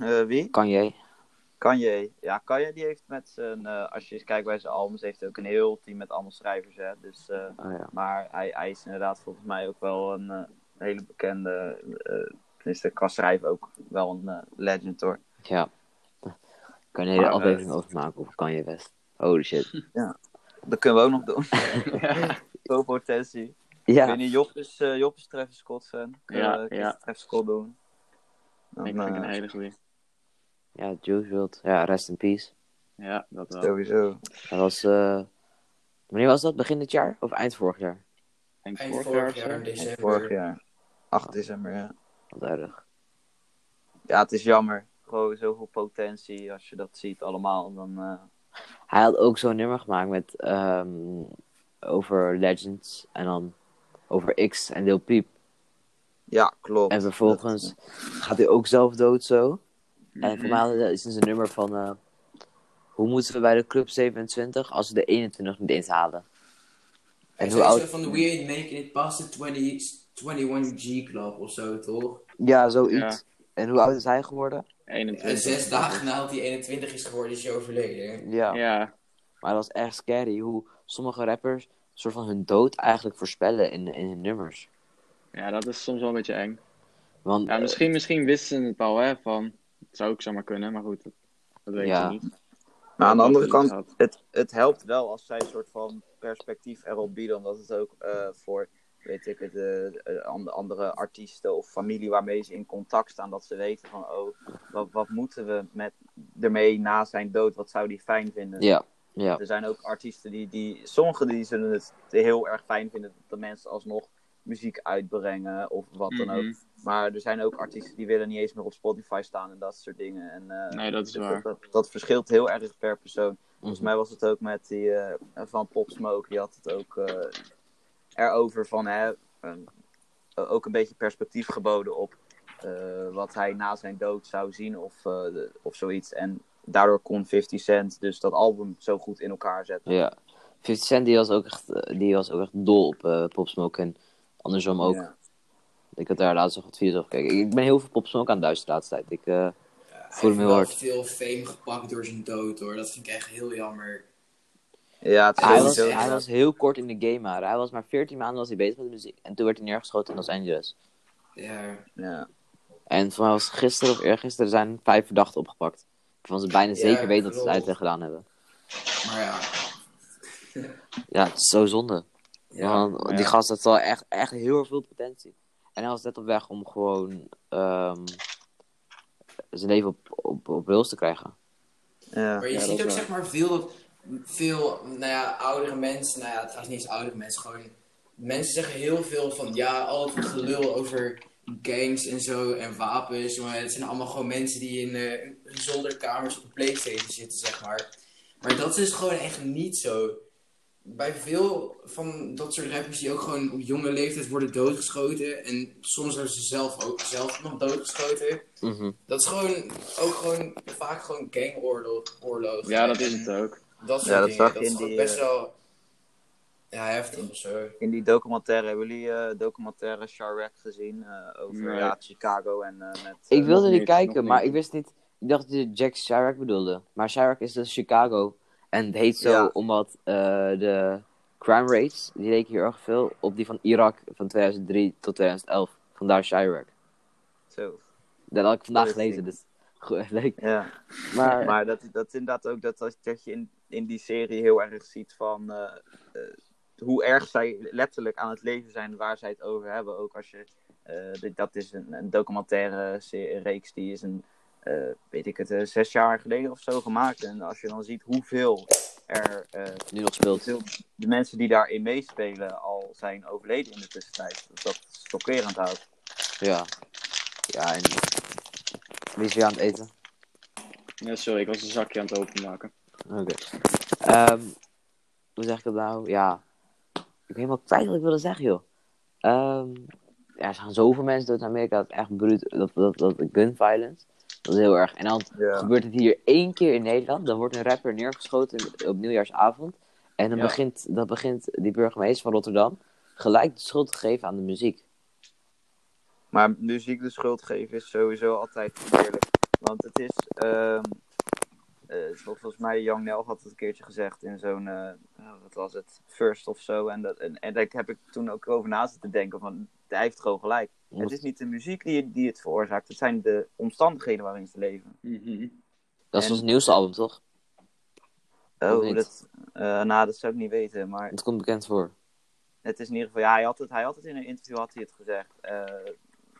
Speaker 3: Eh, wie?
Speaker 1: Kan jij?
Speaker 3: Kanye. Ja, Kanye die heeft met zijn. eh, als je eens kijkt bij zijn albums, heeft hij ook een heel team met allemaal schrijvers. Hè? Dus, eh,
Speaker 1: Oh ja.
Speaker 3: maar hij, hij is inderdaad volgens mij ook wel een eh, hele bekende. eh tenminste, qua schrijven ook wel een eh, legend hoor.
Speaker 1: Ja. [laughs] Kan je een hele
Speaker 3: Maar, eh,
Speaker 1: aflevering over maken? Of kan je best? Holy shit.
Speaker 3: Dat kunnen we ook nog doen.
Speaker 2: [laughs]
Speaker 3: Zo potentie. [laughs] Ik
Speaker 1: Ja.
Speaker 3: weet niet, Job is, eh, Job is Travis Scott fan. Kunnen
Speaker 2: Ja,
Speaker 3: we Chris
Speaker 2: ja.
Speaker 3: Travis Scott doen? Dan,
Speaker 2: ik vind het
Speaker 3: eh,
Speaker 2: een hele goede.
Speaker 1: Ja, Juice WRLD. Ja, rest in peace.
Speaker 2: Ja, dat wel.
Speaker 3: Sowieso.
Speaker 1: Dat was... eh, Wanneer was dat? Begin dit jaar? Of eind vorig jaar?
Speaker 2: Eind
Speaker 4: Eind
Speaker 2: vorig jaar
Speaker 4: vorig
Speaker 2: of
Speaker 4: jaar in
Speaker 2: zo.
Speaker 4: december.
Speaker 3: Vorig jaar. 8 december, ja.
Speaker 1: Wat erg.
Speaker 3: Ja, het is jammer. Gewoon zoveel potentie als je dat ziet allemaal. Dan, eh,
Speaker 1: Hij had ook zo'n nummer gemaakt met... ehm, over Legends. En dan over X en Lil Peep.
Speaker 3: Ja, klopt.
Speaker 1: En vervolgens
Speaker 3: Dat-
Speaker 1: gaat hij ook zelf dood zo.
Speaker 2: Mhm.
Speaker 1: En voor mij is het een nummer van... eh, hoe moeten we bij de club 27 als we de 21 niet eens halen?
Speaker 4: En
Speaker 1: En
Speaker 4: hoe
Speaker 1: hoe oud-
Speaker 4: van de We Ain't Making It Past the 20, 21G Club of zo, toch?
Speaker 1: Ja, zoiets. En hoe oud is hij geworden?
Speaker 2: 21.
Speaker 4: En Eh, zes dagen nadat hij 21 is geworden, is hij overleden.
Speaker 1: Ja.
Speaker 2: Ja,
Speaker 1: Maar dat is echt scary hoe sommige rappers soort van hun dood eigenlijk voorspellen in, in hun nummers.
Speaker 2: ja, dat is soms wel een beetje eng.
Speaker 1: Want
Speaker 2: Ja, misschien, misschien wisten ze het al, hè, van... Het zou ook zomaar kunnen, maar goed, dat, dat weet
Speaker 1: Ja.
Speaker 2: je niet.
Speaker 3: Maar aan de andere
Speaker 2: Dat je
Speaker 3: kant,
Speaker 2: iets had.
Speaker 3: het, het helpt wel als zij een soort van perspectief erop bieden. Omdat het ook eh, voor, weet ik het, eh, eh, an- andere artiesten of familie waarmee ze in contact staan. Dat ze weten van, oh, wat, wat moeten we met, ermee na zijn dood? Wat zou die fijn vinden?
Speaker 1: ja, eh, ja,
Speaker 3: Er zijn ook artiesten die, die sommigen die zullen het heel erg fijn vinden dat de mensen alsnog muziek uitbrengen of wat dan ook.
Speaker 2: Mhm.
Speaker 3: Maar er zijn ook artiesten die willen niet eens meer op Spotify staan en dat soort dingen. En, eh,
Speaker 2: Nee, dat is
Speaker 3: dus
Speaker 2: waar.
Speaker 3: Dat, dat verschilt heel erg per persoon. Volgens
Speaker 1: mhm.
Speaker 3: mij was het ook met die eh, van Pop Smoke, die had het ook eh, ehm, erover van hè, een- ook een beetje perspectief geboden op eh, wat hij na zijn dood zou zien of, eh, de- of zoiets. En daardoor kon 50 Cent dus dat album zo goed in elkaar zetten.
Speaker 1: Ja. 50 Cent die was ook echt, eh, die was ook echt dol op eh Pop Smoke en andersom ook.
Speaker 3: Ja.
Speaker 1: Ik had daar laatst nog wat video's over gekeken. Ik ik ben heel veel Pop Smoke aan het luisteren de laatste tijd. Ik, eh,
Speaker 4: Ja,
Speaker 1: Voel me
Speaker 4: hij
Speaker 1: heel
Speaker 4: heeft
Speaker 1: hard.
Speaker 4: wel veel fame gepakt door zijn dood hoor. Dat vind ik echt heel jammer.
Speaker 3: Ja, het is
Speaker 1: hij, was,
Speaker 3: sowieso-
Speaker 1: hij was heel kort in de game maar. Hij was maar 14 maanden was hij bezig met de muziek. En toen werd hij neergeschoten in Los Angeles.
Speaker 4: Ja.
Speaker 3: ja.
Speaker 1: En voor mij was gisteren of eergisteren zijn vijf verdachten opgepakt. Waarvan ze bijna zeker weten dat ze het
Speaker 4: klopt.
Speaker 1: uitleg gedaan hebben.
Speaker 4: Maar ja.
Speaker 1: Ja, het is zo zonde.
Speaker 4: ja.
Speaker 1: Want
Speaker 2: maar
Speaker 1: die
Speaker 2: ja.
Speaker 1: gast had wel echt, echt heel erg veel potentie. En hij was net op weg om gewoon ehm, zijn leven op, op, op rails te krijgen.
Speaker 3: Ja.
Speaker 4: Maar je
Speaker 2: Ja, dat
Speaker 4: ziet
Speaker 2: is
Speaker 4: ook
Speaker 2: waar.
Speaker 4: zeg maar veel, dat- veel nou ja, oudere mensen, nou ja, trouwens niet eens oudere mensen, gewoon mensen zeggen heel veel van ja, al het gelul over gangs en zo en wapens, maar het zijn allemaal gewoon mensen die in eh, zolderkamers op de Playstation zitten, zeg maar. Maar dat is gewoon echt niet zo. Bij veel van dat soort rappers die ook gewoon op jonge leeftijd worden doodgeschoten en soms worden ze zelf ook zelf nog doodgeschoten.
Speaker 3: Mhm.
Speaker 4: Dat is gewoon ook gewoon vaak gewoon gangoorlog. oorlog.
Speaker 2: Ja, dat is het ook.
Speaker 4: Dat soort
Speaker 3: Ja, dat
Speaker 4: dingen.
Speaker 3: zag
Speaker 4: dat
Speaker 3: je
Speaker 4: is
Speaker 3: in
Speaker 4: gewoon
Speaker 3: die,
Speaker 4: best
Speaker 3: eh,
Speaker 4: wel ja, heftig of [laughs] zo.
Speaker 3: In die documentaire, hebben jullie eh, documentaire Chirac gezien eh, over
Speaker 2: Nee.
Speaker 3: ja, Chicago en eh, met...
Speaker 1: Ik
Speaker 3: eh,
Speaker 1: wilde
Speaker 2: nog
Speaker 1: die
Speaker 2: niet, nog
Speaker 1: kijken, maar
Speaker 2: niet.
Speaker 1: ik wist niet. Ik dacht dat je Jack Chirac bedoelde. Maar Chirac is dus Chicago. En het heet zo
Speaker 3: Ja.
Speaker 1: omdat eh, de crime rates, die leken hier erg veel op die van Irak van 2003 tot 2011. Vandaar Chirac.
Speaker 3: Zo.
Speaker 1: Dat had ik vandaag
Speaker 3: Politiek.
Speaker 1: gelezen, dus goed, [laughs] leuk.
Speaker 3: Ja.
Speaker 1: Maar,
Speaker 3: Maar dat, dat is inderdaad ook dat, dat- dat je in, in die serie heel erg ziet van eh, eh, hoe erg zij letterlijk aan het leven zijn waar zij het over hebben. Ook als je, eh, dit- dat is een, een documentaire se- reeks die is een, eh, weet ik het, eh, zes jaar geleden of zo gemaakt. En als je dan ziet hoeveel er, eh,
Speaker 1: nu nog speelt.
Speaker 3: hoeveel de mensen die daarin meespelen al zijn overleden in de tussentijd. Dat is chockerend houdt.
Speaker 1: Ja. Ja, en... Wie is weer aan het eten?
Speaker 2: Ja, sorry, ik was een zakje aan het openmaken.
Speaker 1: Oké. Ehm, hoe zeg ik dat nou? Ja. Ik ben helemaal kwijt wat ik wilde zeggen, joh. Ehm, ja, er gaan zoveel mensen dood in Amerika. Dat is echt bruut. Dat, dat, dat gun violence. Dat is heel erg. En dan
Speaker 3: Ja.
Speaker 1: gebeurt het hier één keer in Nederland. Dan wordt een rapper neergeschoten op nieuwjaarsavond. En dan
Speaker 2: Ja.
Speaker 1: begint, dat begint die burgemeester van Rotterdam gelijk de schuld te geven aan de muziek.
Speaker 3: Maar muziek de schuld geven is sowieso altijd eerlijk. Want het is, ehm, eh, zoals volgens mij Young Nel had het een keertje gezegd in zo'n, eh, oh, wat was het, First of zo. En, dat, en, en daar heb ik toen ook over na zitten denken van, hij heeft gewoon gelijk. Het is niet de muziek die, die het veroorzaakt, het zijn de omstandigheden waarin ze leven.
Speaker 2: Mhm.
Speaker 1: Dat is
Speaker 3: en-
Speaker 1: ons nieuwste album, toch? Of
Speaker 3: Oh,
Speaker 1: niet?
Speaker 3: dat, eh, nou, dat zou ik niet weten, maar
Speaker 1: Het komt bekend voor.
Speaker 3: het is in ieder geval, ja, hij had het, hij had het in een interview had hij het gezegd. Eh,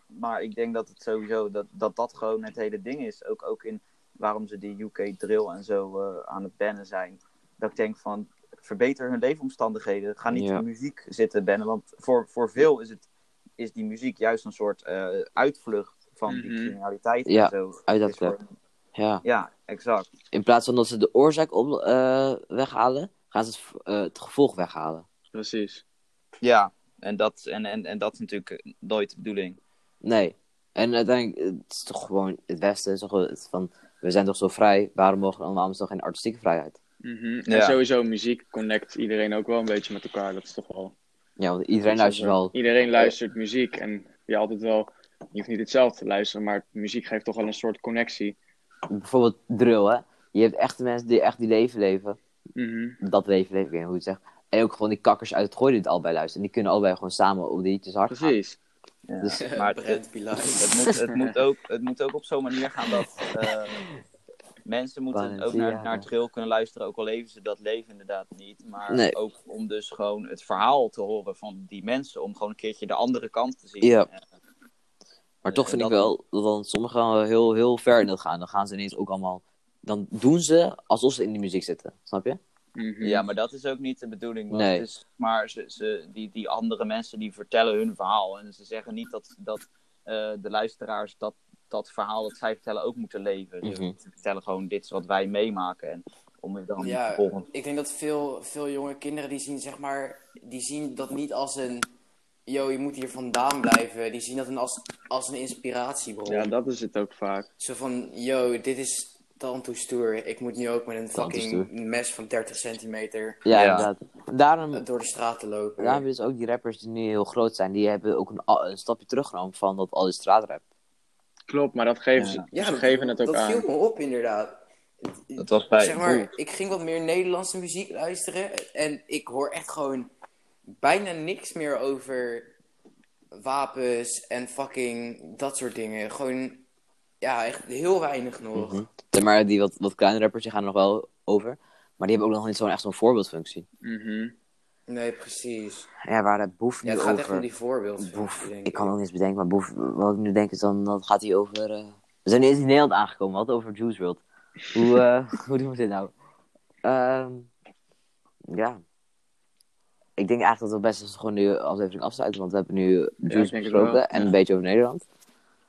Speaker 3: maar ik denk dat het sowieso, dat, dat dat gewoon het hele ding is. Ook, ook in waarom ze die UK drill en zo eh, aan het bannen zijn. Dat ik denk van, verbeter hun leefomstandigheden. Ga niet
Speaker 1: Ja.
Speaker 3: de muziek zitten bannen. Want voor, voor veel is, het, is die muziek juist een soort eh, uitvlucht van die
Speaker 2: Mhm.
Speaker 3: criminaliteit
Speaker 1: Ja,
Speaker 3: en zo.
Speaker 1: uit dat
Speaker 3: Is voor-
Speaker 1: Ja.
Speaker 3: Ja, exact.
Speaker 1: In plaats van dat ze de oorzaak op, eh, weghalen, gaan ze het, v- eh, het gevolg weghalen.
Speaker 2: Precies.
Speaker 3: Ja, en dat, en, en, en dat is natuurlijk nooit de bedoeling.
Speaker 1: Nee. En uiteindelijk, het is toch gewoon het Westen. Is toch wel het van, we zijn toch zo vrij, waarom mogen we allemaal toch geen artistieke vrijheid?
Speaker 2: Mhm.
Speaker 3: Ja.
Speaker 2: En sowieso, muziek connect iedereen ook wel een beetje met elkaar. Dat is toch wel...
Speaker 1: Ja, want iedereen
Speaker 2: dat is
Speaker 1: luistert wel.
Speaker 2: Iedereen luistert muziek en je altijd wel... Je hoeft niet hetzelfde te luisteren, maar muziek geeft toch wel een soort connectie.
Speaker 1: Bijvoorbeeld drill, hè. Je hebt echte mensen die echt die leven leven.
Speaker 2: Mhm.
Speaker 1: Dat leven leven, ik weet niet hoe je het zegt. En ook gewoon die kakkers uit het gooi die het allebei luisteren. Die kunnen allebei gewoon samen op die liedjes hard gaan.
Speaker 2: Precies.
Speaker 3: Ja.
Speaker 1: Dus-
Speaker 3: maar het, het- Het moet, het moet, ook, het moet ook op zo'n manier gaan dat eh, mensen moeten ook naar,
Speaker 1: Balenciaga.
Speaker 3: naar drill kunnen luisteren, ook al leven ze dat leven inderdaad niet. Maar
Speaker 1: Nee.
Speaker 3: ook om dus gewoon het verhaal te horen van die mensen, om gewoon een keertje de andere kant te zien.
Speaker 1: Ja.
Speaker 3: Eh,
Speaker 1: Maar toch
Speaker 3: Eh,
Speaker 1: vind ik
Speaker 3: dat-
Speaker 1: wel dat dan sommigen wel heel, heel ver in dat gaan. Dan gaan ze ineens ook allemaal... Dan doen ze alsof ze in die muziek zitten. Snap je?
Speaker 2: Mhm.
Speaker 3: ja, maar dat is ook niet de bedoeling. Want
Speaker 1: Nee.
Speaker 3: het is, maar ze, ze, die, die andere mensen die vertellen hun verhaal en ze zeggen niet dat, dat eh, de luisteraars dat, dat verhaal dat zij vertellen ook moeten leven. Ze
Speaker 1: Mhm.
Speaker 3: vertellen gewoon dit is wat wij meemaken en om het dan
Speaker 4: [laughs] Ja,
Speaker 3: vervolgens
Speaker 4: ik denk dat veel, veel jonge kinderen die zien, zeg maar, die zien dat niet als een yo, je moet hier vandaan blijven. Die zien dat een als, als een inspiratiebron.
Speaker 2: Ja, dat is het ook vaak.
Speaker 4: Zo van, yo, dit is tantoe stoer. Ik moet nu ook met een
Speaker 1: Tantoe
Speaker 4: fucking mes van 30 centimeter
Speaker 1: Ja,
Speaker 2: Ja.
Speaker 1: inderdaad. Daarom,
Speaker 4: door de straat te lopen.
Speaker 1: daarom hebben dus ook die rappers die nu heel groot zijn, die hebben ook een, a- een stapje teruggenomen van dat al die straatrap.
Speaker 2: Klopt, maar dat geven ze,
Speaker 4: Ja,
Speaker 2: ze
Speaker 4: dat-
Speaker 2: geven het ook
Speaker 4: dat
Speaker 2: aan.
Speaker 4: viel me op inderdaad.
Speaker 3: Dat was bij
Speaker 4: zeg maar, ik ging wat meer Nederlandse muziek luisteren en ik hoor echt gewoon bijna niks meer over wapens en fucking dat soort dingen. Gewoon, ja, echt heel weinig nog.
Speaker 2: Mhm.
Speaker 1: Zeg Maar die wat, wat kleine rappers, die gaan er nog wel over. Maar die hebben ook nog niet zo'n echt zo'n voorbeeldfunctie.
Speaker 2: Mhm.
Speaker 4: Nee, precies.
Speaker 1: Ja, waar de boef nu
Speaker 4: Ja, het gaat echt om
Speaker 1: over...
Speaker 4: die voorbeeld.
Speaker 1: Boef, ik kan ook niets bedenken, maar Boef, wat ik nu denk is dan, dat gaat hij over... eh, We zijn niet eens in Nederland aangekomen, we hadden het over Juice World. Hoe, eh, [laughs] hoe doen we dit nou? Ehm, ja. Ik denk eigenlijk dat we best eens gewoon nu aflevering afsluiten, want we hebben nu
Speaker 2: ik
Speaker 1: Juice
Speaker 2: denk het wel,
Speaker 1: besproken en een beetje over Nederland.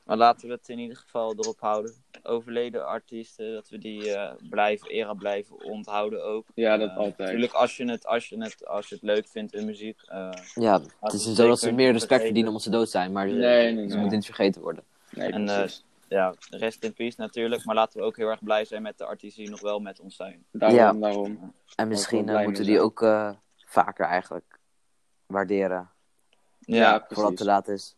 Speaker 3: Maar laten we het in ieder geval erop houden. Overleden artiesten, dat we die eh, blijven, era blijven onthouden ook.
Speaker 2: Ja, dat
Speaker 3: Eh,
Speaker 2: altijd.
Speaker 3: Natuurlijk, als je, het, als, je het, als je het leuk vindt in muziek. eh,
Speaker 1: Ja, het
Speaker 3: we
Speaker 1: is niet zo
Speaker 3: zeker
Speaker 1: dat ze meer
Speaker 3: niet
Speaker 1: respect
Speaker 3: vergeten.
Speaker 1: verdienen omdat ze dood zijn, maar ze,
Speaker 2: Nee, nee,
Speaker 1: ze
Speaker 2: nee.
Speaker 1: moeten niet vergeten worden.
Speaker 2: Nee,
Speaker 3: En, eh,
Speaker 2: precies.
Speaker 3: ja, rest in peace natuurlijk. Maar laten we ook heel erg blij zijn met de artiesten die nog wel met ons zijn.
Speaker 2: Daarom,
Speaker 1: ja.
Speaker 2: daarom.
Speaker 1: En
Speaker 2: wel
Speaker 1: misschien eh,
Speaker 2: blij
Speaker 1: moeten
Speaker 2: mee
Speaker 1: die
Speaker 2: zijn.
Speaker 1: ook eh, vaker eigenlijk waarderen,
Speaker 2: Ja,
Speaker 1: voordat het
Speaker 2: precies.
Speaker 1: te laat is.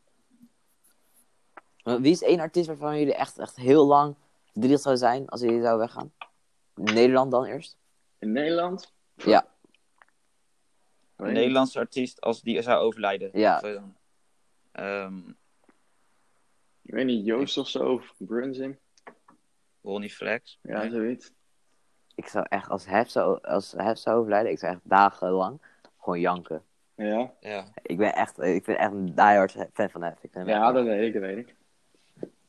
Speaker 1: Maar Wie is één artiest waarvan jullie echt, echt heel lang verdrietig zou zijn als jullie zou weggaan? Nederland dan eerst?
Speaker 2: In Nederland?
Speaker 1: Ja.
Speaker 2: Weet
Speaker 3: Een
Speaker 2: ik
Speaker 3: Nederlandse artiest, als die zou overlijden.
Speaker 1: Ja.
Speaker 3: Of, eh, ehm,
Speaker 2: niet. Ik weet niet, Joost of zo, of Brunzing.
Speaker 3: Ronnie Flex.
Speaker 2: Ja, zoiets.
Speaker 1: Ik zou echt, als Hef zou, als Hef zou overlijden, ik zou echt dagenlang gewoon janken.
Speaker 2: Ja,
Speaker 3: Ja.
Speaker 1: Ik ben echt, ik ben echt een diehard fan van Hef. Ik vind hem
Speaker 2: ja
Speaker 1: echt-
Speaker 2: dat weet ik, dat weet ik.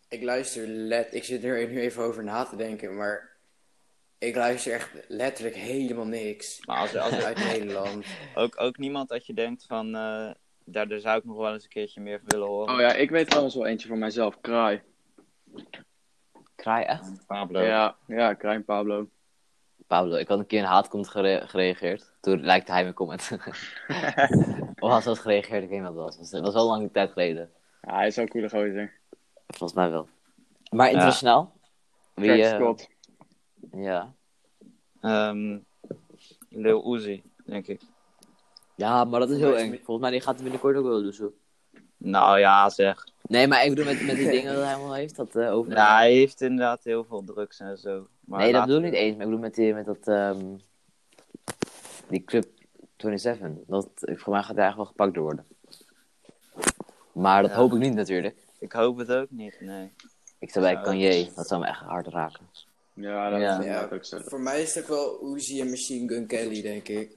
Speaker 4: Ik luister let, ik zit er nu even over na te denken, maar ik luister echt letterlijk helemaal niks
Speaker 3: Maar als, als er
Speaker 2: [laughs]
Speaker 4: uit Nederland.
Speaker 3: ook, ook niemand dat je denkt van... eh, daar, daar zou ik nog wel eens een keertje meer van willen horen.
Speaker 2: Oh ja, ik weet trouwens wel eentje van mijzelf, Kraai.
Speaker 1: Kraai echt.
Speaker 3: Pablo.
Speaker 2: Ja, ja, Kraai en Pablo.
Speaker 1: Pablo, ik had een keer een haatcomment gere- gereageerd. Toen lijkt hij mijn comment. [laughs] of had ze dat gereageerd? Ik weet niet wat het was. Het was wel lang tijd geleden.
Speaker 2: Ja, hij is ook een coole gozer.
Speaker 1: Volgens mij wel. Maar internationaal? Wie,
Speaker 2: Kurt
Speaker 1: eh,
Speaker 2: Scott.
Speaker 1: ja.
Speaker 3: Ehm, Lil Uzi, denk ik.
Speaker 1: ja, maar dat is heel
Speaker 4: Volgens mij
Speaker 1: eng.
Speaker 4: is-
Speaker 1: Volgens mij die gaat hij binnenkort ook wel doen. zo.
Speaker 3: Nou ja, zeg.
Speaker 1: Nee, maar ik bedoel met, [laughs] met die dingen dat hij allemaal heeft. Dat, eh over...
Speaker 3: Ja, hij heeft inderdaad heel veel drugs en zo. Nou, Maar
Speaker 1: nee, dat
Speaker 3: laten
Speaker 1: bedoel ik niet eens. Maar ik bedoel met, die, met dat... ehm, die Club 27. Dat, voor mij gaat hij eigenlijk wel gepakt door worden. Maar dat hoop ik niet natuurlijk.
Speaker 3: we- Ik hoop het ook niet, nee.
Speaker 1: Ik zou bij
Speaker 3: Zou-
Speaker 1: Kanye, dat zou me echt hard raken.
Speaker 2: Ja, dat
Speaker 1: Ja.
Speaker 2: is inderdaad
Speaker 4: Ja,
Speaker 2: ook zo.
Speaker 4: voor mij is het ook wel Uzi en Machine Gun Kelly, denk ik.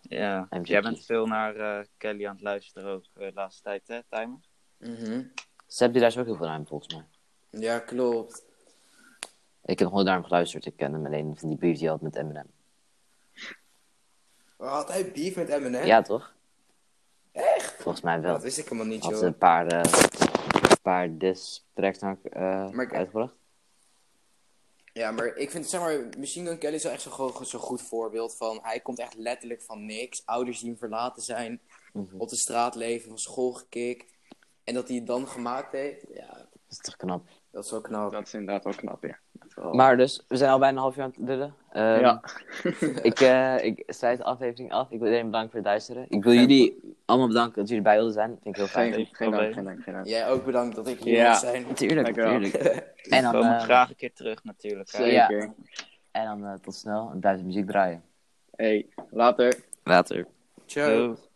Speaker 3: Ja.
Speaker 1: MGK.
Speaker 3: Jij bent veel naar eh, Kelly aan het luisteren ook eh, de laatste tijd, hè, Timer?
Speaker 4: Mhm.
Speaker 1: Seb die daar is ook heel veel ruimte volgens mij.
Speaker 4: Ja, klopt.
Speaker 1: Ik heb nog nooit naar hem geluisterd. Ik ken hem alleen van die beef die hij had met Eminem.
Speaker 4: Maar Had hij beef met Eminem?
Speaker 1: Ja, toch? Echt? Volgens mij wel.
Speaker 4: Dat wist ik helemaal niet,
Speaker 1: Had
Speaker 4: joh.
Speaker 1: ze een paar, eh paar diss tracks naar, eh,
Speaker 4: Maar ik-
Speaker 1: uitgebracht.
Speaker 4: Ja, maar ik vind, zeg maar, Machine Gun Kelly is wel echt zo'n go- zo'n goed voorbeeld van... Hij komt echt letterlijk van niks. Ouders die hem verlaten zijn.
Speaker 1: Mhm.
Speaker 4: Op de straat leven, van school gekikt. En dat hij het dan gemaakt heeft. Ja,
Speaker 1: Dat is toch knap.
Speaker 4: dat is wel knap.
Speaker 2: Dat is inderdaad wel knap, ja. Dat is wel-
Speaker 1: Maar dus, we zijn al bijna een half jaar aan het lullen. Ehm,
Speaker 2: Ja.
Speaker 1: ik, eh, ik sluit de aflevering af. Ik wil iedereen bedanken voor het luisteren. Ik wil jullie allemaal bedanken dat jullie bij wilden zijn. Dat vind ik [laughs] heel fijn.
Speaker 2: Geen, geen dank, geen dank, geen dank.
Speaker 4: Jij ook bedankt dat ik hier
Speaker 2: Ja.
Speaker 4: mag zijn. [laughs]
Speaker 1: Natuurlijk,
Speaker 2: Dank je wel.
Speaker 1: natuurlijk. En
Speaker 3: We
Speaker 1: dan,
Speaker 3: komen
Speaker 1: eh,
Speaker 3: graag een keer terug natuurlijk. hè.
Speaker 1: Ja.
Speaker 2: Zeker.
Speaker 1: en dan eh, tot snel. En blijf de muziek draaien.
Speaker 2: Hey, later.
Speaker 1: Later.
Speaker 4: Ciao.
Speaker 3: Doei.